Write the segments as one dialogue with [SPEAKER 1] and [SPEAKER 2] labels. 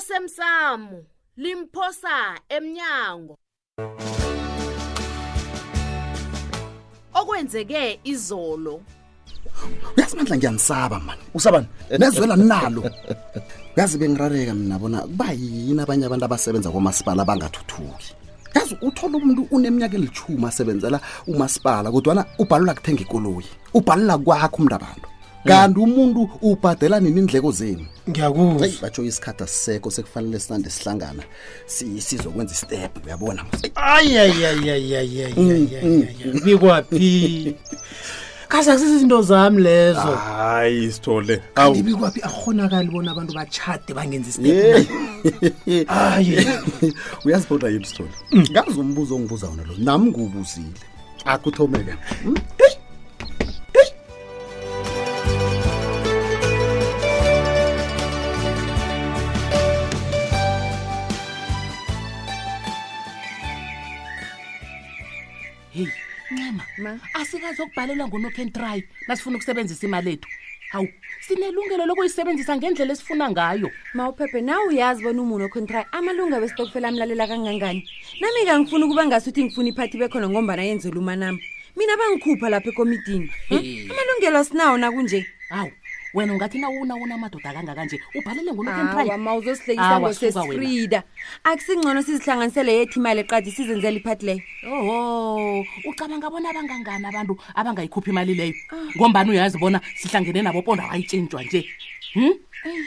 [SPEAKER 1] osemsamo limphosa emnyango okwenzeke izolo
[SPEAKER 2] uyasimandla ngiyanisaba mani usabani nezwela ninalo yazi bengirareka mina bona kuba yini abanye abantu abasebenza kwamasipala bangathuthuki yazi uthola umuntu uneminyaka elithumi asebenzela umasipala kodwana ubhalula kuthenga ikoloyi ubhalula kwakho umntu abantu
[SPEAKER 3] Mm.
[SPEAKER 2] kanti umuntu ubhadela nini indleko zenu
[SPEAKER 4] ngiyakuzwa
[SPEAKER 2] eyi batsho isikhathi asisekho sekufanele sinande sihlangana si- sizokwenza istep uyabona
[SPEAKER 5] Mm,
[SPEAKER 4] ayayayayayayayabikwaphi kaze akusizinto zami lezo
[SPEAKER 2] Ah.
[SPEAKER 3] hayi sithole
[SPEAKER 4] ndibikwaphi akhonakali bona abantu batshade bangenza
[SPEAKER 3] Eh.
[SPEAKER 4] isiaye
[SPEAKER 2] uyazibona yini sithole ngazi umbuzo ongibuza wona lo nami nguwubuzile akuthomeke
[SPEAKER 5] heyi ncema asikazokubhalelwa ngonoken try nasifuna ukusebenzisa imali ethu hawu sinelungelo lokuyisebenzisa ngendlela esifuna ngayo
[SPEAKER 6] mawuphephe nawe uyazi bona umuntu okhontrayi amalunga wesitokfela amlalela kangangani nami kangifuni ukuba ngasuthi ngifuna iphathi bekhona ngombana yenzela umanami mina bangikhupha lapha ekomidini
[SPEAKER 5] Hey.
[SPEAKER 6] amalungelo asinawo nakunje
[SPEAKER 5] hawu wena ungathi nawunawona amadoda kangakanje ubhalele ngonoken try
[SPEAKER 6] awa mawuzosihlekisa ngosesfrida akusingcono sizihlanganisele yethi imali eqadi sizenzela iphathi leyo
[SPEAKER 5] oho ucabanga bona abangangani abantu abangayikhuphi imali leyo ngombani uyazi bona sihlangene nabo pondo awayitshintshwa nje um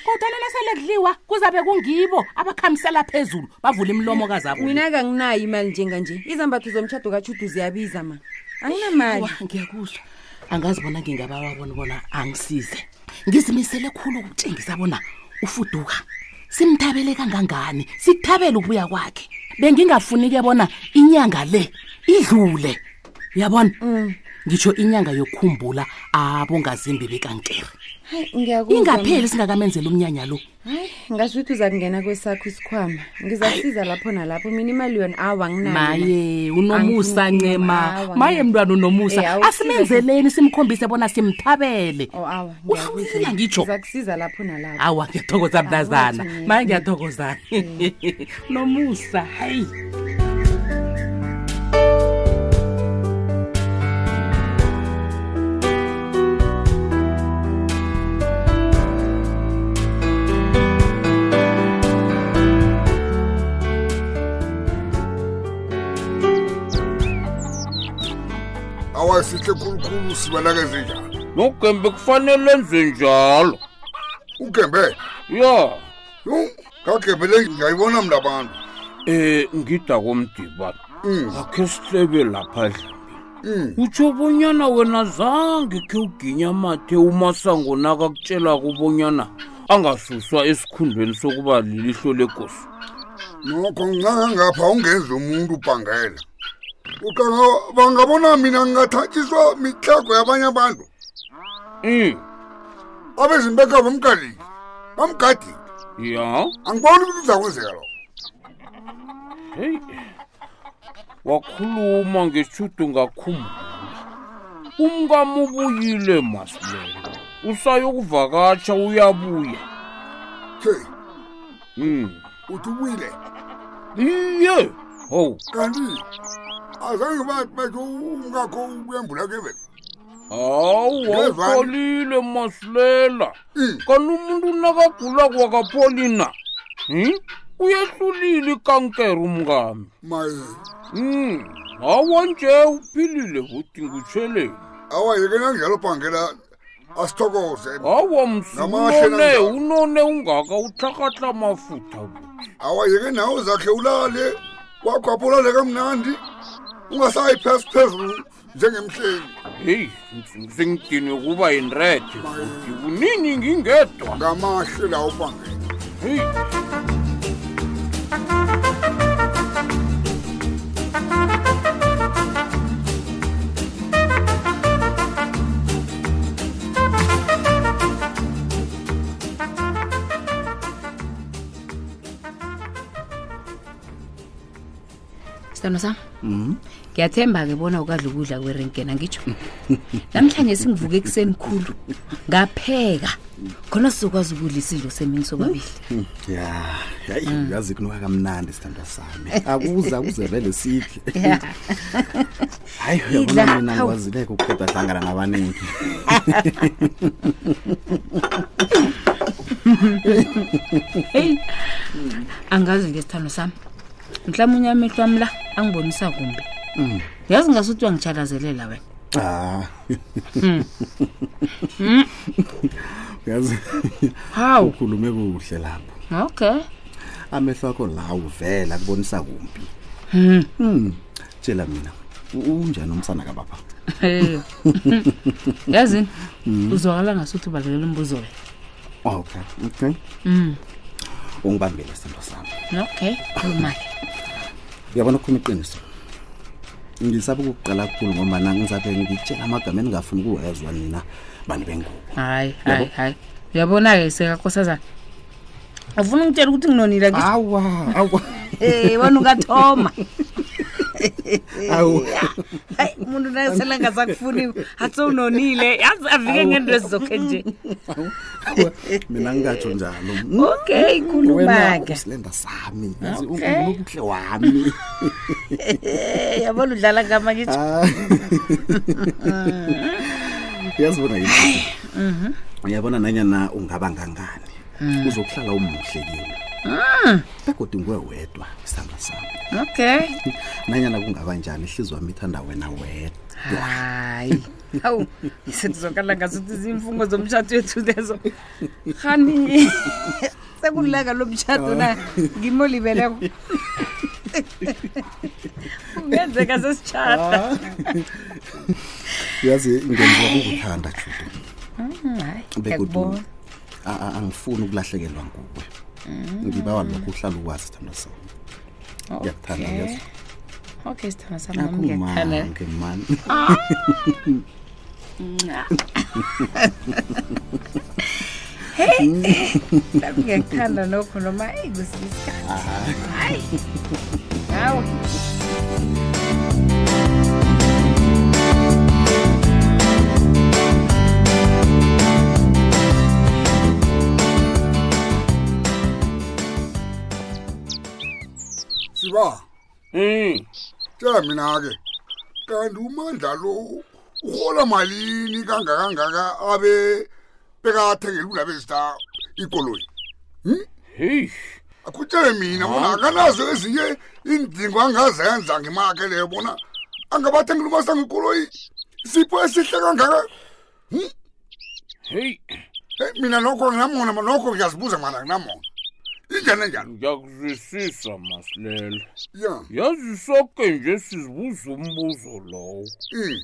[SPEAKER 5] kodwa nena sele kudliwa kuzabe kungibo abakhamisela phezulu bavula imlomoka zabo
[SPEAKER 6] mina kanginayo imali njenganje izambatho zomtshado katshudu ziyabiza ma anginamali
[SPEAKER 5] Awa, ngiyakuzwa angazi bona ngingabawa bona bona angisize ngizimisele khulu ukutshengisa bona ufuduka simthabele kangangani sikuthabele ukubuya kwakhe bengingafunike bona inyanga le idlule uyabona ngitsho inyanga yokukhumbula abongazimbi bekankere
[SPEAKER 6] hayi ngiyakuzwa ma.
[SPEAKER 5] ingapheli singakamenzela umnyanya lo
[SPEAKER 6] hayi ngasuthi uzakungena kwesakho isikhwama ngizasiza lapho nalapho mina imali yona awa anginayo ma.
[SPEAKER 5] maye unomusa
[SPEAKER 6] Angifuni
[SPEAKER 5] ncema
[SPEAKER 6] mama,
[SPEAKER 5] maye mntwana unomusa
[SPEAKER 6] Eh, awusize-
[SPEAKER 5] asimenzeleni simkhombise bona simthabele
[SPEAKER 6] Oh, awa
[SPEAKER 5] uhlulile ngitsho
[SPEAKER 6] ngizakusiza lapho nalapho
[SPEAKER 5] awa ngiyathokoza mntazana
[SPEAKER 6] Awathi mina.
[SPEAKER 5] maye ngiyathokoza nomusa hayi
[SPEAKER 7] awasihle khulukhulu sibanakeze njani
[SPEAKER 8] nogembe kufanele enze njalo
[SPEAKER 7] ugembe
[SPEAKER 8] ya
[SPEAKER 7] yo ngagembele ngayibona mna abantu
[SPEAKER 8] um ngida Mm. komdibana akhe sihlebe lapha dlambini utsho bonyana wena zange khe uginya mathe umasango nakakutshela kubonyana angasuswa esikhundleni sokuba lilihlo legosi
[SPEAKER 7] nokho ngingakangapha ungenza umuntu ubhangela uqanga bangabona mina ngingathatshiswa mihlago yabanye abantu
[SPEAKER 8] um
[SPEAKER 7] abezimbeka bamgadile bamgadile
[SPEAKER 8] ya
[SPEAKER 7] angiboni ukuthi uzakwenzeka lo
[SPEAKER 8] heyi wakhuluma ngeshudu ngakhumbula umkami ubuyile masilela usayokuvakatsha uyabuya
[SPEAKER 7] the
[SPEAKER 8] um
[SPEAKER 7] uthi ubuyile
[SPEAKER 8] iye howu
[SPEAKER 7] kanti azange bathi betho ungakho uyembula kevela
[SPEAKER 8] hawu
[SPEAKER 7] Ngezwani.
[SPEAKER 8] wawupholile masilela
[SPEAKER 7] Mm,
[SPEAKER 8] kanti umuntu nakagula kwakapholi na um uyehlulile ikankere umkami
[SPEAKER 7] maye
[SPEAKER 8] um hawa nje uphilile buti ngutsheleni
[SPEAKER 7] awayeke nanjalo bhangela asithokoze
[SPEAKER 8] hawa msunone
[SPEAKER 7] Namahle
[SPEAKER 8] unone ungaka utlhakatla mafutha bo.
[SPEAKER 7] awayeke nawe zakhe ulale wakhwapho ulale kamnandi ungasayi phasi phezulu njengemhleni
[SPEAKER 8] heyi ngi- sengidinwe kuba yinrethe futhi kunini ngingedwa
[SPEAKER 7] ngamahle lawo bangela
[SPEAKER 8] heyi
[SPEAKER 3] sithando sam
[SPEAKER 5] Mm-hmm.
[SPEAKER 3] ngiyathemba-ke bona ukadla ukudla kwerenkena ngitsho namhlanje singivuke ekuseni khulu ngapheka khona sizokwazi ukudla isidlo semini sobabili
[SPEAKER 2] ya hayi uyazi kunuka kamnandi sithandwa sami Mm. akuza kuze vele sidle
[SPEAKER 3] ya
[SPEAKER 2] hayi
[SPEAKER 3] Idla,
[SPEAKER 2] uyabona mina
[SPEAKER 3] hawu.
[SPEAKER 2] ngikwazileke ukuqeda hlangana nabaningi
[SPEAKER 3] heyi angazi ke sithando sami mhlawumbe unye amehlo wami la angibonisa kumbi Mm. yazi ngasuthi uyangitshalazelela wena
[SPEAKER 2] ah uyazi
[SPEAKER 3] hawu
[SPEAKER 2] ukhulume kuhle lapho
[SPEAKER 3] okay
[SPEAKER 2] amehlo akho la uvela kubonisa kumbi Hmm. tshela mina u- unjani umsana kababa
[SPEAKER 3] Eyo. yazini uzwakala ngasuthi ubalekela umbuzo wena
[SPEAKER 2] Hmm.
[SPEAKER 3] Hmm.
[SPEAKER 2] okay okay ungibambele sithandwa sami
[SPEAKER 3] okay khuluma-ke
[SPEAKER 2] uyabona ukukhuluma iqiniso ngisaba ukukuqala kakhulu ngombana ngizabe ngitshela amagama endingafuni ukuwezwa nina bantu bengubo
[SPEAKER 3] hayi hayi hayi uyabona-ke sekakhosazana ufuna ungitshela ukuthi nginonile ngithi,
[SPEAKER 2] awa awa
[SPEAKER 3] Ah, eh, wena ukathoma
[SPEAKER 2] awa
[SPEAKER 3] hayi umuntu naye selangasakufuniwe atseunonile yazi afike ngento ezizokhe nje
[SPEAKER 2] mina ngingatsho njalo
[SPEAKER 3] okay khuluma-ke
[SPEAKER 2] usilenda sami yazi,
[SPEAKER 3] Okay.
[SPEAKER 2] ungubaba ubuhle wami
[SPEAKER 3] Eh, yabona udlala ngama ngitsho
[SPEAKER 2] Ah. uyazibona yini uyabona nanyana ungaba ngangani uzokuhlala umuhle kimi begodwa nguwe wedwa isandla sami
[SPEAKER 3] Ah. okay
[SPEAKER 2] nanyana kungaba njani ihliziyo wami ithanda wena wedwa
[SPEAKER 3] hayi hawu setizokala ngasuthi zimfungo zomtshato wethu lezo hani sekulilanga lomtshato na ngimo libeleko kungenzeka sesitshata
[SPEAKER 2] uyazi ngenziwa kukuthanda judo
[SPEAKER 3] hayi
[SPEAKER 2] begodwa a- a- angifuni ukulahlekelwa nguwe
[SPEAKER 3] Mm.
[SPEAKER 2] ngibawa lokhu uhlala ukwazi ithando sami ngiyakuthanda uyazi
[SPEAKER 3] okay sithanda sami nami ngiyakuthanda
[SPEAKER 2] akumange mani
[SPEAKER 3] nami ngiyakuthanda nokho noma eyi kwesinye isikhathi hayi hawu
[SPEAKER 7] siba
[SPEAKER 8] um
[SPEAKER 7] tshela mina-ke kanti umandla lo uhola malini kangakangaka abe bekathengela ulabezita ikoloyi
[SPEAKER 8] heyi
[SPEAKER 7] akutshele mina bona akanazo ezinye iindingo angazenza ngemake leyo bona angabathengela umasango ikoloyi sipho esihle kangaka
[SPEAKER 8] heyi
[SPEAKER 7] eyi Eh, mina nokho namona nokho ngiyazibuza mana namona injani enjalo
[SPEAKER 8] ngiyakuzwisisa masilela
[SPEAKER 7] ya
[SPEAKER 8] yazi soke nje sizibuza umbuzo lowo
[SPEAKER 7] Mm.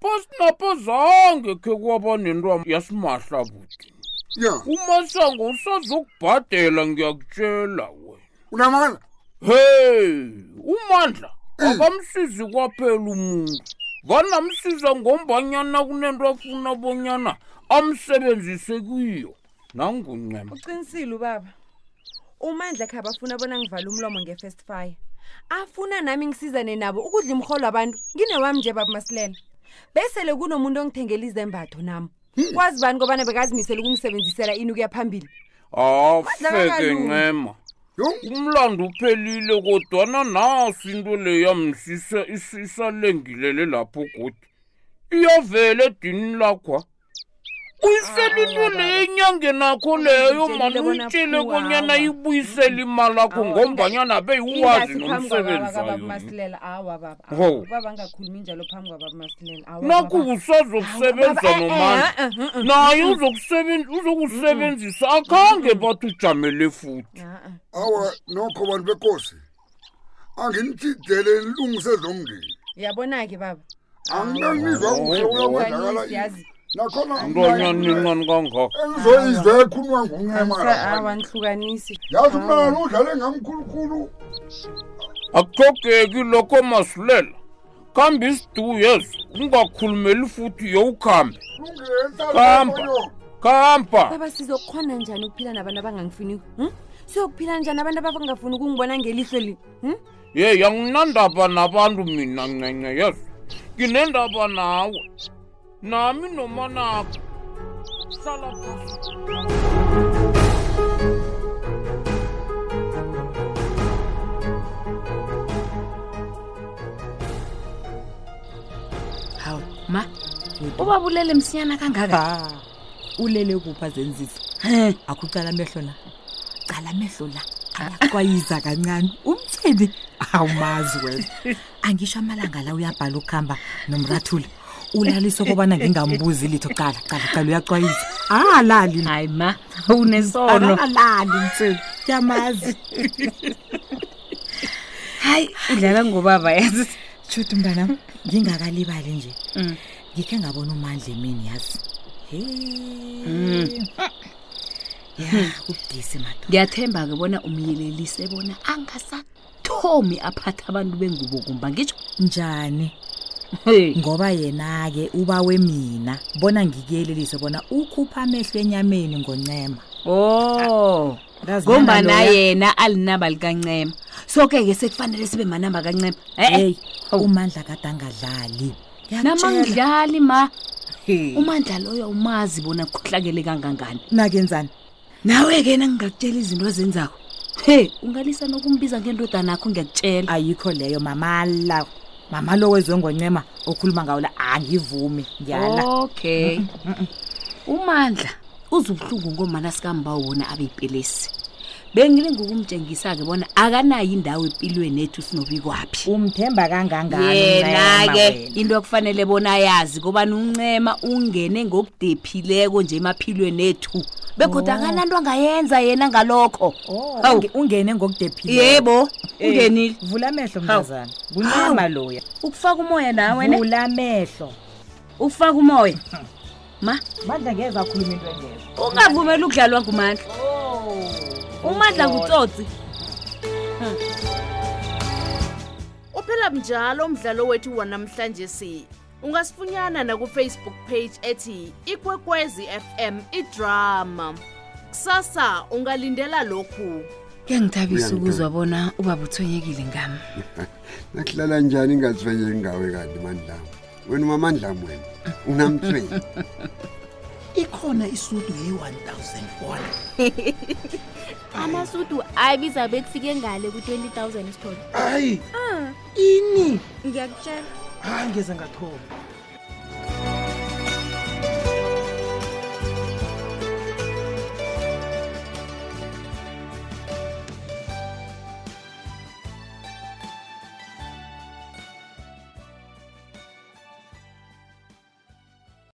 [SPEAKER 8] phasi napho zange khe kwaba nentwa yasimahla buti
[SPEAKER 7] ya
[SPEAKER 8] umasango usazokubhadela ngiyakutshela wena
[SPEAKER 7] unamala
[SPEAKER 8] heyi umandla akamsizi kwaphela umuntu vanamsiza ngombanyana kunento afuna bonyana amsebenzise kuyo nanguncema
[SPEAKER 6] uqinisile ubaba umandla khe abafuna bona ngivala umlomo nge-first fire afuna nami ngisizane nabo ukudla imrholo abantu nginewami nje baba masilela besele kunomuntu ongithengela izembatho nami kwazi bani kobana bekazimisela ukungisebenzisela ini ukuya phambili
[SPEAKER 8] afeke
[SPEAKER 6] Badlala
[SPEAKER 8] ncema
[SPEAKER 7] yo
[SPEAKER 8] umlando uphelile kodwana naso into leyamsisa isalengilele lapho godi iyavela edini lakhwa uyisele into leyo enyangenakho leyo
[SPEAKER 6] Ngitjelile
[SPEAKER 8] mani
[SPEAKER 6] bona
[SPEAKER 8] uyitshele
[SPEAKER 6] aphuwa,
[SPEAKER 8] konyana
[SPEAKER 6] awa.
[SPEAKER 8] ibuyisele imali akho
[SPEAKER 6] Awa,
[SPEAKER 8] ngombanyana beyiwazi
[SPEAKER 6] Ingasi phambi kwababa
[SPEAKER 8] nomsebenzi
[SPEAKER 6] kababa
[SPEAKER 8] wayo
[SPEAKER 6] masilela awa baba awa,
[SPEAKER 8] Ho.
[SPEAKER 6] ubaba angakhulumi njalo phambi kwababa masilela awa,
[SPEAKER 8] nakho
[SPEAKER 6] baba.
[SPEAKER 8] usazokusebenza
[SPEAKER 6] Baba, eh, eh,
[SPEAKER 8] nomandla
[SPEAKER 6] eh, eh, eh,
[SPEAKER 8] naye uzokusebenza- uzokusebenzisa akhange bathi ujamele futhi
[SPEAKER 6] eh, eh.
[SPEAKER 7] awa nokho bantu bekosi anginithidele nilungise zomndeni
[SPEAKER 6] uyabona-ke baba
[SPEAKER 7] anginanizwa kuhle uyakwenzakala
[SPEAKER 6] Yazi.
[SPEAKER 7] nakhona
[SPEAKER 8] ntwanyana incane kangaka
[SPEAKER 7] engizoyizwa ekhulunywa nguncema
[SPEAKER 6] awa nihlukanisi
[SPEAKER 7] yazi umnana lo udlale ngamkhulukhulu
[SPEAKER 8] akuxogeki lokho masilela kambe isiduku yezo ungakhulumeli futhi yowukhambe
[SPEAKER 7] lungile
[SPEAKER 8] Kamba.
[SPEAKER 7] ntayo
[SPEAKER 8] kamba
[SPEAKER 6] baba sizokhona njani ukuphila nabantu abangangifuniko hmm? siyokuphila njani abantu abangafuni ukungibona ngelihlo li hm?
[SPEAKER 8] yeyi anginandaba nabantu mina ncenye yezo nginendaba nawe nami nomanakho sala phasi
[SPEAKER 3] hawu ma ubabulele msinyana kangaka
[SPEAKER 9] ha ulele kupha zenzisa akucala amehlo na cala amehlo la ayaxwayiza kancane umtheni awumazi wena angisho amalanga la uyabhala ukuhamba nomrathula ulaliswe kobana ngingambuzi litho cala cala cala uyaxwayiza alali
[SPEAKER 3] hayi ma unesono
[SPEAKER 9] alali mtheni yamazi
[SPEAKER 3] hayi udlala ngobaba yazi
[SPEAKER 9] shuthi mntanam ngingakalibali nje ngikhe ngabona umandla emini yazi he
[SPEAKER 3] Mm.
[SPEAKER 9] ya kubudisi madoda
[SPEAKER 3] ngiyathemba-ke bona umyelelise bona angasathomi aphatha abantu bengubokumba ngitsho
[SPEAKER 9] njani
[SPEAKER 3] Hey.
[SPEAKER 9] ngoba yena-ke ubawe mina bona ngikuyelelise bona ukhupha amehlo enyameni ngoncema
[SPEAKER 3] o
[SPEAKER 9] Ndazana
[SPEAKER 3] ngombana
[SPEAKER 9] loya.
[SPEAKER 3] Oh. yena alinaba likancema soke-ke sekufanele sibe manamba kancema Eh, e-e
[SPEAKER 9] eyi umandla kade angadlali Ngiyakutjela.
[SPEAKER 3] namangidlali ma
[SPEAKER 9] He.
[SPEAKER 3] umandla loyo umazi bona kukhohlakele kangangani
[SPEAKER 9] nakenzani
[SPEAKER 3] nawe-ke nangingakutshela izinto azenzako he ungalisa nokumbiza ngendodana akho ngiyakutshela
[SPEAKER 9] ayikho leyo mamala mama lo wezwe ngoncema okhuluma ngawo la angivumi ngiyala
[SPEAKER 3] okay umandla uzubuhlungu ngomana sikambawo wona abe yipelesi bengile ngokumtshengisa-ke bona akanayo indawo empilweni ethu sinobikwaphi
[SPEAKER 9] umthemba kangangani
[SPEAKER 3] Oh. yena-ke
[SPEAKER 9] uNcema wena?
[SPEAKER 3] into ekufanele bona yazi kobani uncema ungene ngokudephileko nje emaphilweni ethu begoda akananto angayenza yena ngalokho
[SPEAKER 9] Oh, Eh.
[SPEAKER 3] Hawu.
[SPEAKER 9] unge- ungene ngokudephile
[SPEAKER 3] yebo ungenile
[SPEAKER 9] vula amehlo mntazana kuncema loya
[SPEAKER 3] ukufaka umoya nawe ne
[SPEAKER 9] vula amehlo
[SPEAKER 3] ukufaka umoya ma
[SPEAKER 9] mandla ngeze akhuluma into engeza
[SPEAKER 3] ungavumeli ukudlalwa ngumandla
[SPEAKER 6] Oh.
[SPEAKER 3] umandla ngutsotsi
[SPEAKER 10] uphela mnjalo umdlalo wethu wanamhlanje si ungasifunyana nakufacebook page ethi ikwekwezi fm idrama kusasa ungalindela lokhu
[SPEAKER 3] kuyangithabisa
[SPEAKER 7] Uyangithola.
[SPEAKER 3] ukuzwa bona ubaba uthonyekile ngami
[SPEAKER 7] nakuhlala njani ingathwenye ngawe kanti mandlamu wena umamandlamu wena unamthweni
[SPEAKER 5] ikhona isudu ye-1400
[SPEAKER 11] amasudu ayibiza bekufike ngale ku-20 000 isithole
[SPEAKER 5] hayi ini
[SPEAKER 11] ngiyakutshela
[SPEAKER 5] hayi ngeze ngathoma